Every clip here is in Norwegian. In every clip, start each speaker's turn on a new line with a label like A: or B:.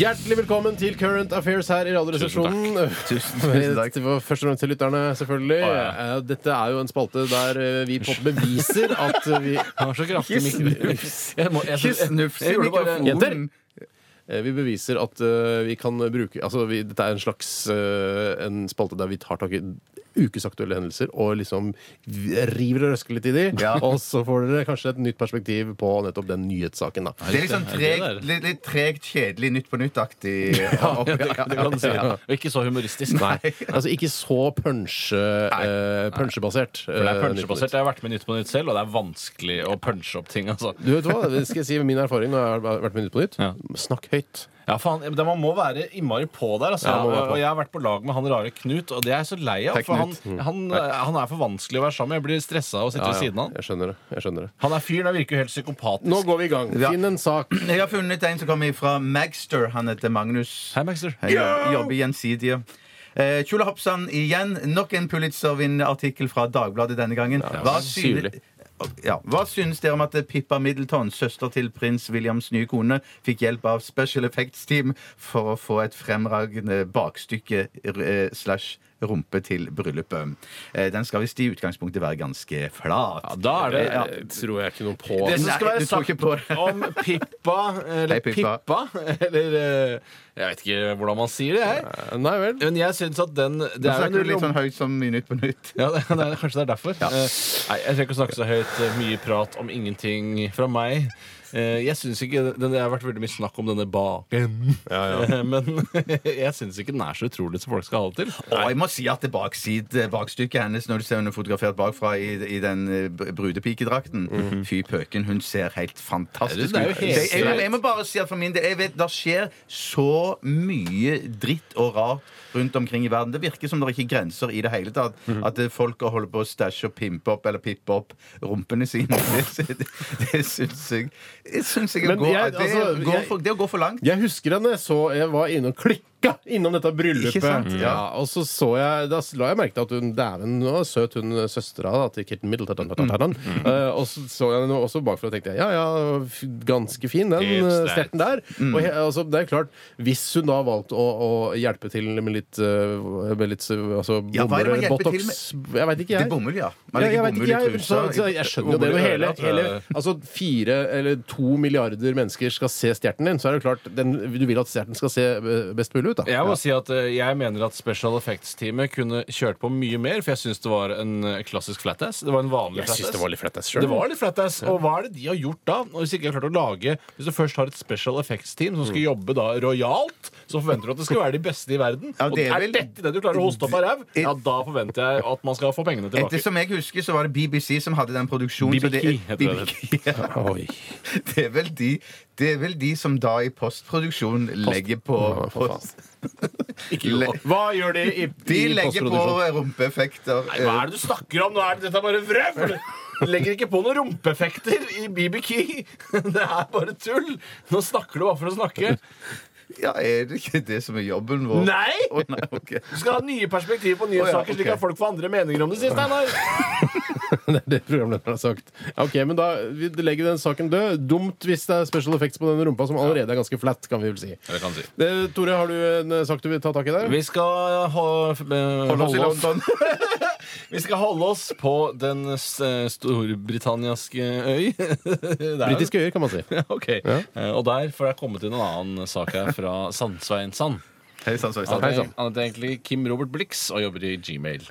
A: Hjertelig velkommen til Current Affairs her i Radioresepsjonen. Tusen,
B: tusen takk.
A: Det var Først og fremst til lytterne, selvfølgelig. Eh, Dette er jo en spalte der eh, vi på en måte beviser at eh, vi
B: Han var så kraftig mikrofonen. Jeg, må- jeg,
C: Snufs i
B: jeg gjorde bare-
C: mikrofonen.
A: Jenter! eh, Vi beviser at eh, vi kan bruke Altså, vi, dette er en slags eh, En spalte der vi tar tak i ukesaktuelle hendelser og liksom river og røsker litt i de. Og så får dere kanskje et nytt perspektiv på nettopp den nyhetssaken, da.
C: Det er litt sånn
B: Er det det
C: tregt,
B: der?
C: litt, litt tregt, kjedelig, Nytt på nytt-aktig. Ja,
B: Ja, ja. Og ikke så humoristisk.
A: Nei. Altså ikke så punsje, eh, punsjebasert.
B: For det er
A: eh,
B: punsjebasert. Jeg har vært med i Nytt på Nytt selv, og det er vanskelig å punche opp ting. altså.
A: Du vet hva, det skal jeg si min erfaring når jeg har vært med Nytt på Nytt.
B: Ja.
A: Snakk høyt.
B: Ja, faen, men Man må være innmari på der. altså.
A: Ja, man må være på.
B: og jeg har vært på lag med han rare Knut, og det er jeg så lei av.
C: Hei,
B: For han,
C: Knut.
B: han, eh, han er for vanskelig å være sammen med. Jeg blir stressa av å sitte ved siden av han.
A: Jeg skjønner det. jeg skjønner det.
B: Han er fyren der virker jo helt psykopatisk.
A: Nå går vi i gang.
C: Ja.
A: Finn en sak.
C: Jeg har funnet en som kommer fra Magster. Han heter Magnus.
B: Hei, Maxter.
C: Jeg jobber- jobber gjensidige. Eh, Tjula Hoppsann igjen. Nok en Pulitzer-vinnerartikkel fra Dagbladet denne gangen. Hva synes,
A: syrlig.
C: ja. Hva synes dere om at Pippa Middleton, søster til prins Williams nye kone, fikk hjelp av Special Effects Team for å få et fremragende bakstykke eh, slash rumpe til bryllupet? Eh, Den skal visst i utgangspunktet være ganske flat.
B: Ja, da er det
C: Ja.
A: tror jeg ikke noe på.
B: Det som
C: Nei,
B: skal være
C: du tror ikke på det.
B: sagt om Pippa eller
C: Hei, Pippa.
B: Pippa. eller eh, Jeg vet ikke hvordan man sier det her.
A: Nei vel.
B: Men jeg syns at den det er jo
C: Nå
B: en
C: snakker du litt
B: rom-
C: sånn høyt som i Nytt på Nytt.
B: Ja, det, det er, kanskje det er derfor. Eh, nei, jeg trenger ikke å snakke så høyt. eh, Mye prat om ingenting fra meg. Eh, jeg synes ikke, den- Det har vært veldig mye snakk om denne baken, Eh, men jeg syns ikke den er så utrolig som folk skal ha det til.
C: Og jeg må si at det bakside, bakstykket hennes når du ser henne fotografert bakfra i, i den eh, br- brudepikedrakten Fy pøken, hun ser helt fantastisk ut.
B: Det er jo helt
C: jeg, jeg, jeg må bare si at for min del jeg vet, Det skjer så mye dritt og rart rundt omkring i verden. Det virker som det er ikke grenser i det hele tatt. At eh, folk holder på å stæsje og pimpe opp eller pippe opp rumpene sine. Det, sy- det, det syns jeg, det syns jeg,
A: Men
C: går,
A: jeg-
C: det,
A: altså,
C: går
A: jeg-
C: for, det går for langt.
A: Jeg husker henne, så jeg var inne og klikka innom dette
C: Ikke
A: bryllupet.
C: sant?
A: Ja. og så så jeg, Da la jeg merke til at hun dæven hun var søt, hun søstera da, til Kirsten Middleton.
C: Mm.
A: Eh, og så så jeg henne også bakfra og tenkte jeg, ja ja, f- ganske fin den
B: Helt
A: eh,
B: sterk.
A: stetten der.
C: Mm.
A: Og he, altså, det er klart, hvis hun da valgte å, å hjelpe til med litt, eh, med litt eh, altså,
C: Ja, hva er
A: bommer,
C: det man hjelper til
A: botox Jeg veit ikke,
C: Det er
A: jeg.
C: bomull, ja.
A: Ja,
C: Man legger
A: jeg, vet ikke,
C: bomull i
A: jeg, så,
C: trusa.
A: så jeg skjønner jo det.
B: Bomull i
A: Når hele,
B: øret, tror
A: hele,
B: jeg.
A: altså fire eller to milliarder mennesker skal se stjerten din, så er det jo klart den, du vil at stjerten skal se eh, best mulig ut. da
B: Jeg må si at eh, jeg mener at Special Effects-teamet kunne kjørt på mye mer, for jeg syns det var en eh, klassisk flatass. Det var en vanlig
A: Jeg syns det
B: flatass.
A: var litt flett.
B: Det var litt flattass. Og hva er det de har gjort da? Og Hvis ikke jeg har klart å lage Hvis du først har et special effects-team som
C: Mm.
B: skal jobbe da rojalt, så forventer du at det skal være de beste i verden.
C: Ja,
B: og
C: det er
B: er
C: vel-
B: dette det du klarer å hoste opp av ræv, ja, da forventer jeg at man skal få pengene tilbake.
C: Ettersom jeg husker, så var det BBC som hadde den produksjonen. så det-
B: BBK, heter det.
C: BBK, ja. Det er vel de Det er vel de som da i postproduksjon legger på
A: for faen.
C: post,
B: Ikke lov.
C: Le-
B: Hva gjør de i, i
C: De legger på
B: postproduksjon?
C: rumpeeffekter.
B: Nei, Hva er det du snakker om? Nå er det, dette er bare vrøvl! Legger ikke på noen rumpeeffekter i BBK. Det er bare tull! Nå snakker du bare for å snakke.
C: Ja, er det ikke det som er jobben vår?
B: Nei!
C: Å, nei, ok.
B: Du skal ha nye perspektiv på nye
C: Å, ja,
B: saker, slik
C: ok.
B: at folk får andre meninger om det, sier Steinar.
A: Det er det programlederen har sagt. Ja, Ok, men da vi legger vi den saken død. Dumt hvis det er special effects på den rumpa som allerede er ganske flat, kan vi vel si.
B: Det kan si.
A: Eh, Tore, har du en eh, sak du vil ta tak i der?
B: Vi skal, ho- f- eh,
C: Hold oss i
B: holde oss,
C: London.
B: vi skal holde oss på den s- eh, storbritanniaske øy. Der.
A: Britiske øyer, kan man si.
B: Ja, ok. Eh, Og der får jeg kommet til en annen sak her fra Sandsveinsand.
C: Hei sann, så
B: Han
C: sann.
B: heter han heter egentlig Kim Robert Blix og jobber i Gmail.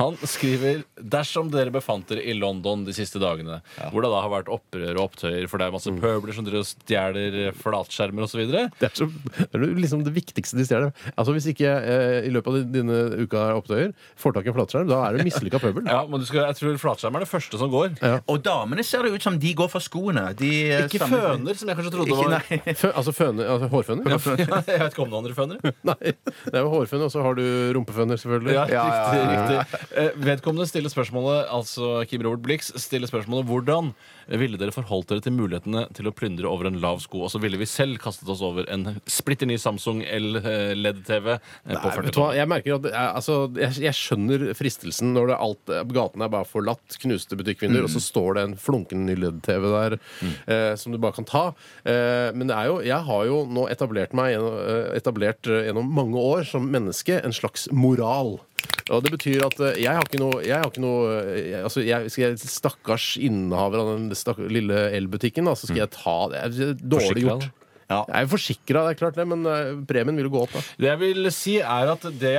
B: Han skriver dersom dere befant dere i London de siste dagene, hvor det da har vært opprør og opptøyer, for det er masse
C: Mm.
B: pøbler som driver og stjeler eh, flatskjermer osv.
A: Det er, så, det er liksom det viktigste de stjeler. Altså, hvis ikke eh, i løpet av dine uka er opptøyer får tak i en flatskjerm, da er du mislykka pøbel.
B: Ja, men du skal, jeg tror flatskjerm er det første som går.
C: Og damene ser det ut som de går for skoene. De, eh,
B: Ikke
C: samme-
B: føner, som jeg kanskje trodde
C: Ikke,
B: var
C: nei.
A: Fø, altså, føne, altså hårføner?
B: Ja, Jeg vet ikke om noen andre føner.
A: Nei. Det er jo hårføner, og så har du rumpeføner, selvfølgelig.
B: Ja,
C: Ja, ja,
B: riktig,
C: ja,
B: riktig. Eh, Vedkommende stiller spørsmålet, altså Kim Robert Blix, stiller spørsmålet hvordan ville dere forholdt dere til mulighetene til å plyndre over en lav sko? Og så ville vi selv kastet oss over en splitter ny Samsung eh, L-LED-TV på
A: Nei, vet du hva?
B: 40
A: Jeg merker at det er, altså, jeg, jeg skjønner fristelsen når det er alt, gaten er bare forlatt, knuste butikkvinduer,
B: Mm.
A: og så står det en flunkende ny LED-TV der eh, som du bare kan ta. Eh, men det er jo, jeg har jo nå etablert meg gjennom, eh, etablert eh, gjennom mange år som menneske en slags moral. Og det betyr at eh, jeg har ikke noe, jeg har ikke noe eh, jeg, altså jeg, Skal jeg stakkars innehaver av den stakk, lille elbutikken, da, så skal jeg ta det. Det er
B: Mm. Forsikret,
A: dårlig gjort.
B: da.
C: Ja.
A: Jeg er jo forsikra, det er klart det, men eh, premien vil jo gå opp. da
B: Det jeg vil si er at det,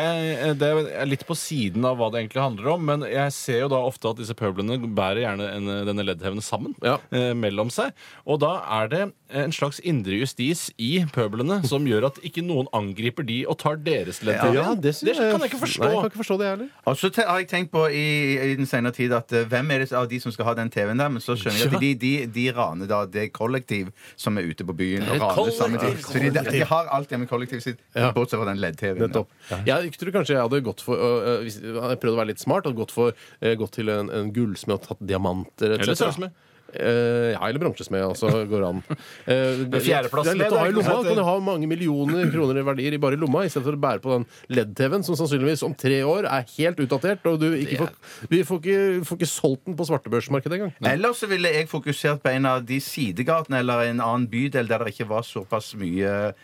B: det er litt på siden av hva det egentlig handler om, men jeg ser jo da ofte at disse pøblene bærer gjerne en, denne leddheven sammen
A: Ja.
B: eh, mellom seg. Og da er det en slags indre justis i pøblene som gjør at ikke noen angriper de og tar deres leddheven.
A: Ja, det, synes jeg-
B: kan jeg ikke forstå.
A: Nei, jeg kan ikke forstå det heller.
C: Og så te- har jeg tenkt på i, i den senere tid at eh, hvem er det av de som skal ha den TV-en der? Men så skjønner jeg at de, de, de raner da det kollektiv som er ute på byen og
B: et
C: raner samme tid.
B: kollektiv.
C: Så de, de har alt hjemme i kollektivet sitt,
A: Ja.
C: bortsett fra den E LED-TV-en.
A: Nettopp. Jeg tror kanskje jeg hadde gått for øh, øh, hvis, jeg hadde prøvd å være litt smart og gått, for, øh, gått til en, en gullsmed og tatt diamanter etc.
B: Eller sølvsmed.
A: Eh, ja, eller bronsesmed også går an. Eh, det, det er
B: fjerdeplassen,
A: lett
B: det
A: å
B: er
A: ha i
B: ikke
A: lomma.
B: sant, det-
A: Kan du ha mange millioner kroner i verdier i bare i lomma, istedenfor å bære på den LED-TV-en, som sannsynligvis om tre år er helt utdatert, og du ikke får, vi får ikke, får ikke solgt den på svartebørsmarkedet engang.
C: Ellers så ville jeg fokusert på en av de sidegatene eller en annen bydel der det ikke var såpass mye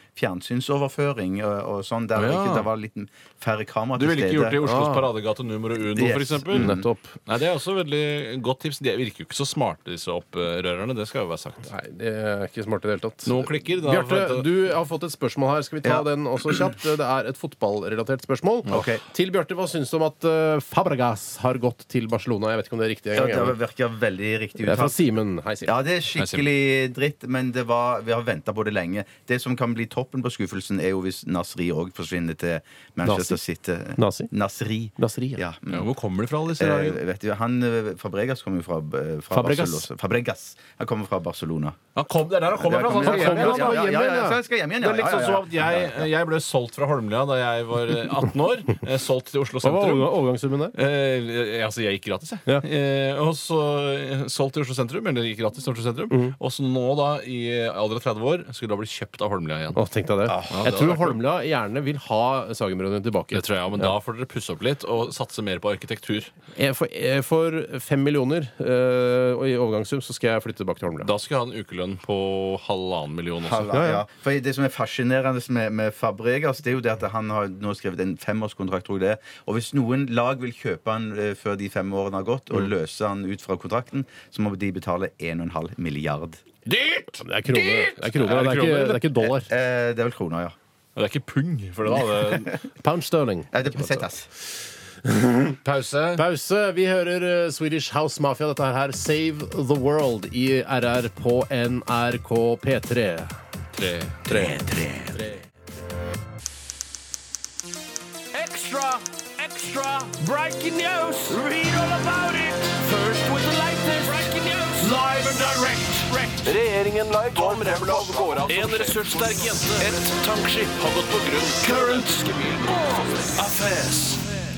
C: fjernsynsoverføring og, og sånn, der
B: Å, ja.
C: ikke, det var litt færre kamera
B: Du
C: til
B: ville
C: stede.
B: ikke gjort det i Oslos
A: Ah.
B: Paradegate nummer uno,
C: Yes.
B: for eksempel?
C: Mm.
A: Nettopp.
B: Nei, Det er også veldig godt tips. De virker jo ikke så smarte, disse opprørerne. Det skal jo være sagt.
A: Nei, det er ikke smart i det hele tatt.
B: Noen klikker, da
A: Bjarte,
B: forventer-
A: du har fått et spørsmål her. Skal vi ta
C: Ja.
A: den også kjapt? Det er et fotballrelatert spørmål.
C: Ok.
A: Til Bjarte, hva syns du om at eh, Fabregas har gått til Barcelona? Jeg vet ikke om det er riktig
C: Ja,
A: engang.
C: det
A: jeg.
C: virker veldig riktig
A: Det er fra
C: uttalt.
A: Simen. Hei, Simen.
C: Ja, det er skikkelig dritt, men det var, vi har venta på det lenge. Det som kan bli toppen på skuffelsen, er jo hvis Nasri òg forsvinner til Manchester City.
A: Nazi?
C: Nasri.
A: Nasri, ja.
C: Ja. mm.
B: Ja, hvor kommer de fra, alle disse?
C: Eh,
B: rarene?
C: vet du, han, eh, Fabregas kommer jo fra, eh, fra
A: Fabregas.
C: Barcelona. Fabregas. Han kommer fra Barcelona.
B: Han kom, det er der han kommer
C: Ja,
B: fra! altså.
C: kom
B: Han
C: igjen,
B: skal hjem
C: ja,
B: igjen!
C: ja,
B: han.
C: ja, ja, ja, så jeg skal hjem igjen,
B: Det
C: ja,
B: er liksom
C: ja, ja,
B: som
C: ja.
B: at jeg, jeg ble solgt fra Holmlia da jeg var eh, 18 år. eh, Solgt til Oslo
A: Hva var
B: sentrum.
A: overga- overgangssummen der?
B: Eh, altså, jeg gikk gratis, jeg.
A: Ja.
B: Eh, og så eh, solgt til Oslo sentrum. Eller gikk gratis til Oslo sentrum
A: Mhm.
B: Og så nå, da, i alder av 30 år, skulle da bli kjøpt av Holmlia igjen.
A: Å, tenk deg det.
B: det
A: jeg
B: hadde
A: tror
B: vært
A: Holmlia gjerne vil ha Sagenbrødrene tilbake.
B: Det tror jeg, men Da får dere pusse opp litt og satse mer på arkitektur.
A: Eh, For, eh, for fem millioner eh, og i overgangssum så skal jeg flytte tilbake til Holmlia.
B: Da skal jeg ha en ukelønn på halvannen million også.
C: Ja, ja. For Det som er fascinerende med, med Fabregas, det er jo det at han har nå skrevet en femårskontrakt. Tror jeg det. er. Og hvis noen lag vil kjøpe han eh, før de fem årene har gått, og løse han ut fra kontrakten, så må de betale 1,5 milliard.
B: Dyrt!
A: Det er kroner. Det er, kroner, det er, ikke, det er ikke dollar.
C: Eh, det er vel kroner, ja.
B: Det er ikke pung for det, da. Det
A: Pound sterling.
C: Nei, det er pesetas.
B: Pause.
A: Pause. Vi hører eh, Swedish House Mafia. Dette her Save the World i RR på NRK P3.
B: Tre.
D: Extra, extra, breaking news. Read all about it. First with the latest breaking news. Live and direct.
E: Regjeringen live Tom Remlov går av
D: En ressurssterk jente.
E: Et tankskip har gått på grunn. Current affairs.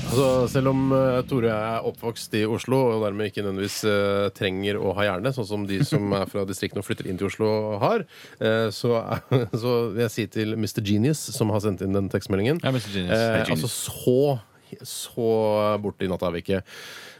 A: Altså, selv om eh, Tore og jeg er oppvokst i Oslo og dermed ikke nødvendigvis eh, trenger å ha hjerne, sånn som de som er fra distriktene og flytter inn til Oslo har, eh, så, så vil jeg si til Mr. Genius, som har sendt inn den tekstmeldingen
B: Ja, Mr. Genius.
A: Eh,
B: Hei, Genius.
A: altså så så borte i natta er vi ikke.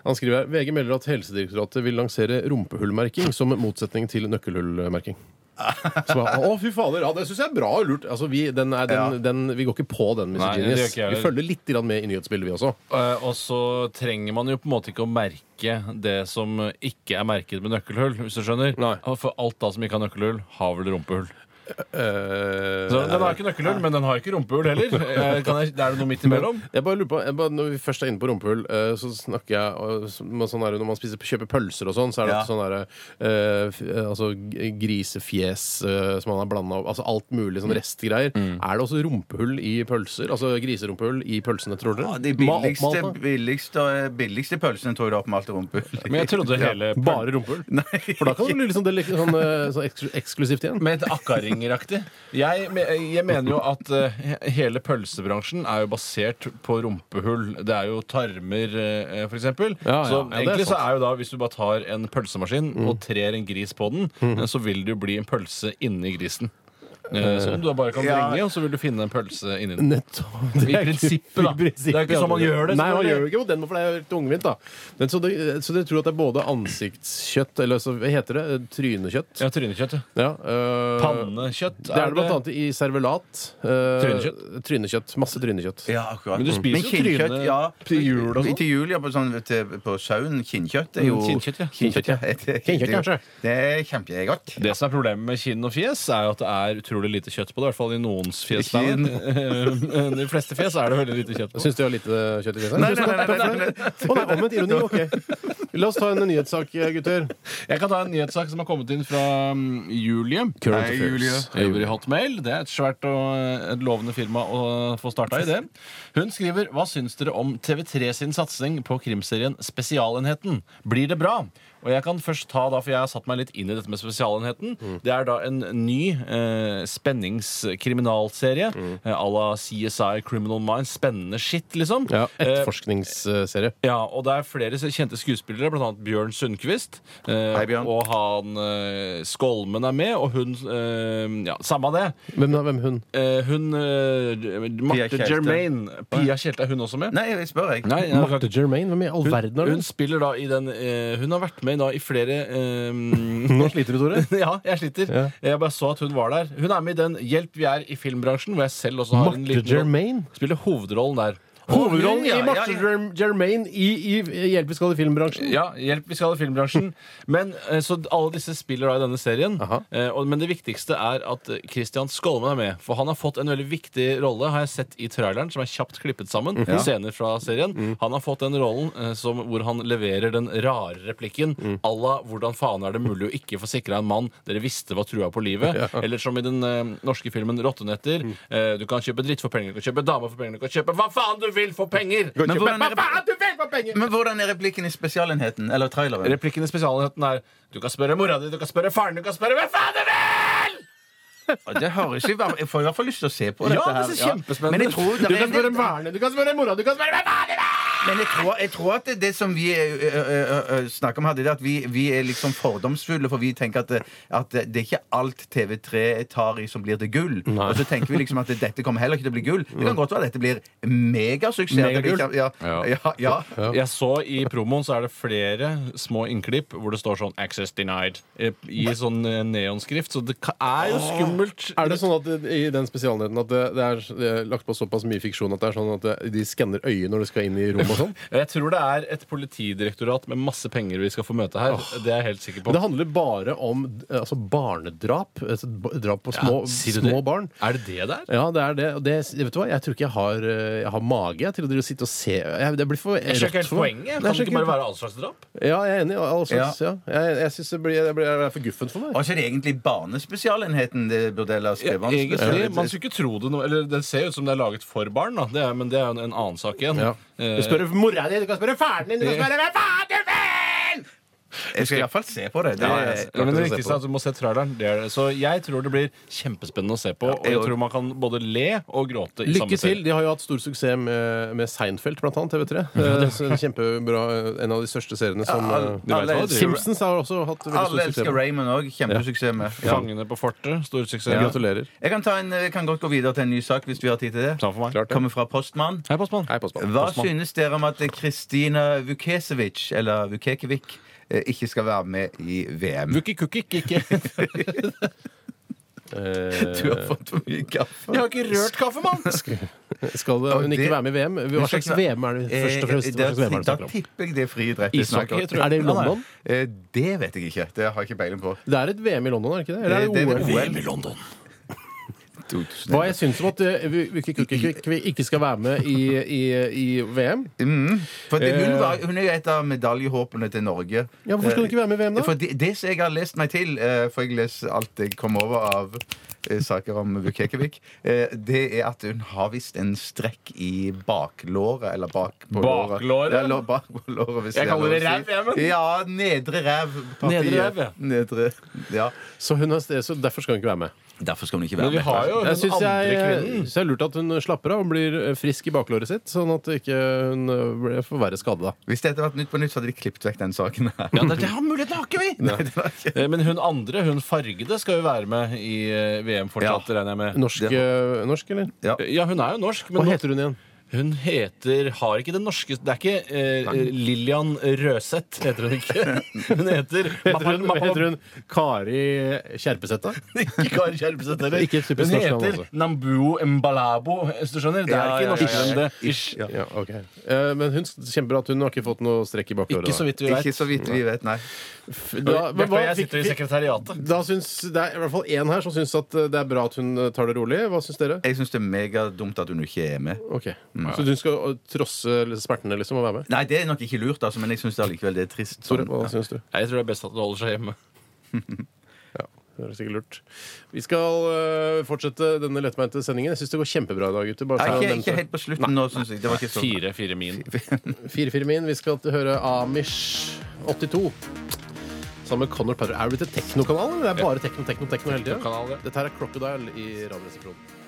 A: Han skriver her VG melder at Helsedirektoratet vil lansere rumpehullmerking som motsetning til nøkkelhullmerking. Så bare, Å, fy fader! Ja, det syns jeg er bra og lurt. Altså, vi, den er, den, den, vi går ikke på den, Mr.
B: Nei, det
A: Genius.
B: gjør ikke jeg
A: Vi
B: heller.
A: følger litt grann med i nyhetsbildet, vi også.
B: Eh, Og så trenger man jo på en måte ikke å merke det som ikke er merket med nøkkelhull, hvis du skjønner.
A: Nei.
B: For alt da som ikke har nøkkelhull, har vel rumpehull.
A: Eh,
B: Så den har ikke nøkkelhull, men den har ikke rumpehull heller. Eh, Kan jeg, er det noe midt imellom?
A: jeg bare lurer på, jeg bare, Når vi først er inne på rumpehull, eh, så snakker jeg og så- men sånn er det Når man spiser, kjøper pølser og sånn, så er det
C: Ja.
A: alltid sånn derre eh, f- eh, altså, g- grisefjes eh, som man har blanda opp Altså alt mulig
C: Mm.
A: sånn restgreier. Er det også rumpehull i pølser? Altså griserumpehull i pølsene, tror dere?
C: Ja, de
A: Ma-
C: billigste,
A: oppmalte?
C: billigste, billigste pølsene tror jeg det er oppmalt rumpehull.
B: Men jeg trodde hele
A: Bare rumpehull? For da kan det bli litt sånn, deli- sånn, eh, sånn eks- eksklusivt igjen.
B: Med et akkaring gjengeraktig. Jeg, me- jeg mener jo at eh, hele pølsebransjen er jo basert på rumpehull. Det er jo tarmer, eh, for eksempel.
A: Ja, ja.
B: Så
A: Ja, det er
B: egentlig så
A: sant. Mm.
B: er jo da, hvis du bare tar en pølsemaskin og trer en gris på den, eh, så vil det jo bli en pølse inni grisen. Eh, Som du da bare kan
C: Ja.
B: bringe, og så vil du finne en pølse inni den.
A: Nettopp. Det
B: I
A: er ikke-
B: prinsippet, da.
A: i
B: Det er jo ikke sånn man gjør
A: Nei,
B: det,
A: man
B: selvfølgelig.
A: gjør jo ikke den, for det er jo helt tungvint, da. Men, så, det, så dere tror at det er både ansiktskjøtt, eller så, hva heter det? Trynekjøtt?
B: Ja, trynekjøtt. ja.
A: Ja, øh,
B: Pannekjøtt.
A: Det er det blant annet i servelat. øh,
B: Trynekjøtt?
A: Trynekjøtt. Masse trynekjøtt.
C: Ja, akkurat.
B: Men du spiser
C: Men
B: jo
C: kinnkjøtt,
B: tryne
C: ja.
B: til jul og sånn. Mm,
C: Til jul, ja. På, sånn, til, på sauen. Kinnkjøtt er jo
B: Kinnkjøtt, ja.
C: Kinnkjøtt, ja. Det-
A: Kinnkjøtt, kanskje.
C: Det er kjempegodt.
B: Det som er problemet med kinn og fjes, er jo at det er utrolig lite kjøtt på det. I hvert fall i noens fjes. da.
C: Kinn.
B: Men De fleste fjes er det veldig lite kjøtt på.
A: Syns du jeg har lite kjøtt i fjeset?
C: Nei, nei, nei, nei, nei, nei.
A: Å nei, omvendt ironi. Ok. La oss ta en nyhetssak, gutter.
B: Jeg kan ta en nyhetssak som har kommet inn fra mm, Julie.
A: Current
C: Hei, affairs. Julie.
B: Jeg jobber i Hotmail. Det er et svært og eh, et lovende firma å få starta i det. Hun skriver Hva syns dere om TV3 sin satsing på krimserien Spesialenheten? Blir det bra? Og jeg kan først ta da, for jeg har satt meg litt inn i dette med Spesialenheten.
C: Mm.
B: Det er da en ny eh, spenningskriminalserie
C: Mm.
B: eh, à la CSI Criminal Minds. Spennende shit, liksom.
A: Ja,
B: Eh,
A: Etterforskningsserie.
B: ja, og det er flere kjente skuespillere, bl.a. Bjørn Sundquist. Eh,
C: Hei, Bjørn.
B: Og han eh, Skolmen er med, og hun eh, Ja, samme det.
A: Hvem, da? hvem hun?
B: Eh, hun eh, Marte
C: Kjelte.
B: Germain. Pia Kjelte, er hun også med?
C: Nei, jeg spør, jeg.
B: Nei, jeg-
A: Marte Germain? Hvem i all verden er
B: hun
A: hun?
B: spiller da i den eh, Hun har vært med da i flere eh,
A: Nå sliter du, Tore.
B: Ja, jeg sliter.
A: Ja.
B: Jeg bare så at hun var der. Hun er med i den Hjelp, vi er i filmbransjen, hvor jeg selv også har en
A: Marte
B: liten rolle.
A: Germain?
B: Spiller hovedrollen der.
A: Hovedrollen i
C: Ja, ja,
A: Marte
C: ja.
A: Germ- Germain i, i Hjelp, vi skal i filmbransjen.
B: Ja, hjelp, vi skal i filmbransjen. Men, eh, så alle disse spiller da i denne serien.
A: Aha.
B: Eh, og- Men det viktigste er at eh, Christian Skolmen er med. For han har fått en veldig viktig rolle, har jeg sett i traileren, som er kjapt klippet sammen. Scener fra serien. Han har fått den rollen eh, som, hvor han leverer den rare replikken à la 'Hvordan faen er det mulig å ikke få sikra en mann dere visste var trua på livet'? Eller som i den eh, norske filmen 'Rottenetter'. Eh, du kan kjøpe dritt for penger, du kan kjøpe dame for penger, du kan kjøpe hva faen du vil for penger!
C: Men
B: Men
C: hvordan
B: hva
C: er-
B: faen du vil for penger!
C: Men hvordan er replikken i Spesialenheten? Eller traileren?
B: Replikken i spesialenheten er Du kan spørre mora di, du kan spørre faren, du kan spørre hvem faen du vil!
C: Det høres jo bare- Jeg får i hvert fall lyst til å se på
B: Ja,
C: dette. her.
B: det er kjempespennende.
C: Men jeg tror,
B: Du
C: det er
B: kan
C: en
B: spørre
C: del-
A: Verne, du kan spørre mora, du kan spørre hvem faen du vil!
C: Men jeg tror, jeg tror at det, det som vi eh, ø, ø, ø, ø, eh, snakker om her, det er at vi, vi er liksom fordomsfulle, for vi tenker at, det- at det er ikke alt TV3 tar i som blir til gull. Og så tenker vi liksom at dette kommer heller ikke til å bli gull. Det kan godt være at dette blir megasuksess. at det
B: Megagull.
C: ikke- Ja, ja, ja.
B: Jeg så i promoen så er det flere små innklipp hvor det står sånn 'Access denied' eh, i sånn eh, neonskrift, så det ka- er jo skummelt.
A: Er det sånn at det- i den spesialenheten at det, det, er, det er lagt på såpass mye fiksjon at det er sånn at det, de skanner øyet når de skal inn i rommet og sånn?
B: Jeg tror det er et politidirektorat med masse penger vi skal få møte her. Det er jeg helt sikker på.
A: Men det handler bare om eh, altså, barnedrap. Altså, ba- drap på små,
B: sier du det?
A: små barn.
B: Er det det der?
A: Ja, det er det. Og det vet du hva? Jeg tror ikke jeg har, eh, jeg har mage jeg, til å drive og sitte og se. Jeg, det blir for
B: Jeg skjønner ikke helt poenget.
A: Nei,
B: Kan det
A: jeg
B: ikke bare
A: skjønner
B: være all slags drap?
A: Ja, jeg er enig. All slags, ja. Jeg, jeg synes det, blir, det, blir, det er for guffent for meg.
C: Og så er det egentlig Barnespesialenheten det burde eller
B: egentlig, Man
C: skrivevanskelig.
B: skulle ikke tro det nå. Eller det ser ut som det er laget for barn, da. Det er, men det er jo en, en annen sak igjen.
A: Ja.
B: Eh,
A: Du spør mora di, du kan spørre faren din, du kan spørre hvem faen du vil!
C: Jeg skal iallfall se på det. det
A: Ja, jeg-
B: Eh, men det
A: å se
B: viktigste er at du må se traileren. Det er det. Så jeg tror det blir kjempespennende å se på. Og jeg
C: også.
B: tror man kan både le og gråte i
A: Lykke
B: samme
A: til.
B: serie.
A: De har jo hatt stor suksess med, med Seinfeld, blant annet. TV3. Eh, så en kjempebra En av de største seriene som
C: Ja, alle-
A: eh, de vet
C: alle
A: hva de
C: elsker-
A: driver med. Simpsons har også hatt veldig
C: Alle
A: stor
C: elsker
A: suksess.
C: Raymond òg. Kjempesuksess med. Ja.
B: Fangene på fortet. Stor suksess.
A: Ja. Gratulerer.
C: Jeg kan, ta en, jeg kan godt gå videre til en ny sak hvis vi har tid til det.
B: Samme for meg.
A: Klart det.
C: Kommer fra Postmann.
B: Hei, postmann.
A: Hei, postmann.
C: Hva synes dere om at Kristina Vukesevic, eller Vukekevic, eh, ikke skal være med i VM?
B: Wookie cookie Eh, ikke.
C: Du har fått for mye kaffe.
B: Jeg har ikke rørt kaffe, mann!
A: Skal det- hun ikke
C: det-
A: være med i VM? Hva slags VM er det først og fremst?
C: Eh,
A: Hva
C: Da
A: slags VM er det
C: da
A: snakker om?
C: tipper jeg det er friidrett. vi
B: Ishockey,
C: snakker om.
B: tror jeg.
A: Er det i London?
C: Eh, Det vet jeg ikke. Det har jeg ikke peiling på.
A: Det er et VM i London, er det ikke det? Eller er
C: Det-
A: det
C: det er
A: OL?
C: VM i
A: London. Hva jeg syns om at eh, vi, vi, ikke- ikke- ikke- vi ikke skal være med i, i, i VM?
C: Mm. For det, hun,
A: Eh.
C: var, hun er jo et av medaljehåpene til Norge.
A: Ja, Hvorfor skal hun ikke være med i VM,
C: For
A: da?
C: det, det som jeg har lest meg til, eh, for jeg leser alt jeg kommer over av eh, saker om Vukekevik, eh, det er at hun har visst en strekk i baklåret. Eller bak på
B: Baklåret?
C: låret. Ja, lå- bak på låret hvis
B: Jeg
C: er lov
B: kaller det
C: å si.
B: ræv, jeg, men.
C: Ja, nedre ræv. papiret.
B: Nedre ræv, ja.
C: Nedre, ja.
A: Så, hun har, så derfor skal hun ikke være med.
C: Derfor skal hun ikke
B: Men vi har jo
A: Jeg
B: den
A: syns
B: andre
A: jeg,
B: kvinnen.
A: synes det er lurt at hun slapper av og blir eh, frisk i baklåret sitt, sånn at ikke hun eh, blir- får verre skade da.
C: Hvis dette hadde vært Nytt på Nytt, så hadde de klippet vekk den saken her.
B: Ja, det, det har muligheten har ikke vi!
C: Nei, det var ikke-
B: Eh, Men hun andre, hun fargede, skal jo være med i eh, VM fortsatt, regner jeg med.
A: Norsk, eh, norsk eller?
C: Ja.
B: Ja, hun er jo norsk,
A: Hva
B: men
A: heter hun igjen?
B: hun heter Har ikke det norske Det er ikke eh, Lillian Røseth, heter hun ikke. Hun heter
A: Heter hun, heter hun Kari Kjerpeseth, da?
B: Ikke Kari Kjerpeseth heller.
A: Ikke et
B: Hun
A: typisk norsk navn,
B: heter
A: altså.
B: Nambuo Mbalabo, hvis du skjønner. Det er
C: Ja, ja,
B: ikke norsk,
C: ja, ja, ja.
B: men det
C: Ish, ja.
A: Ja, ok. Eh, Men hun kjemper at hun har ikke fått noe strekk i baklåret.
B: Ikke så vidt vi
C: Ikke
B: veit.
C: så vidt vi vet, nei.
A: Da, men hva,
B: Jeg
A: fikk,
B: sitter i
A: fikk,
B: sekretariatet.
A: da syns det er i hvert fall én her som syns at eh, det er bra at hun eh, tar det rolig. Hva syns dere?
C: Jeg syns det er megadumt at hun ikke er med.
A: Ok, Så du skal eh, trosse liksom, smertene liksom, og være med?
C: Nei, det er nok ikke lurt, altså, men jeg syns allikevel det er trist.
A: Tore,
C: Sånn.
A: hva syns du?
B: Jeg tror det er best at du holder seg hjemme.
A: Det er sikkert lurt. Vi skal eh, fortsette denne lettbeinte sendingen. Jeg syns det går kjempebra i dag, gutter. Bare
C: Nei,
A: for å
C: ikke,
A: nevne
C: ikke
A: det.
C: helt på slutten nå, syns jeg. Det var ikke
A: Sånn.
C: så
B: Fire, fire min.
A: Fire, fire min. Vi skal høre Amish 82. Sammen med Connor Parrer. Er du til teknokanalen? eller? Det er bare tekno, tekno, tekno hele tida.
B: Kanal, ja.
A: Dette her er Crocodile i Radioresepsjonen.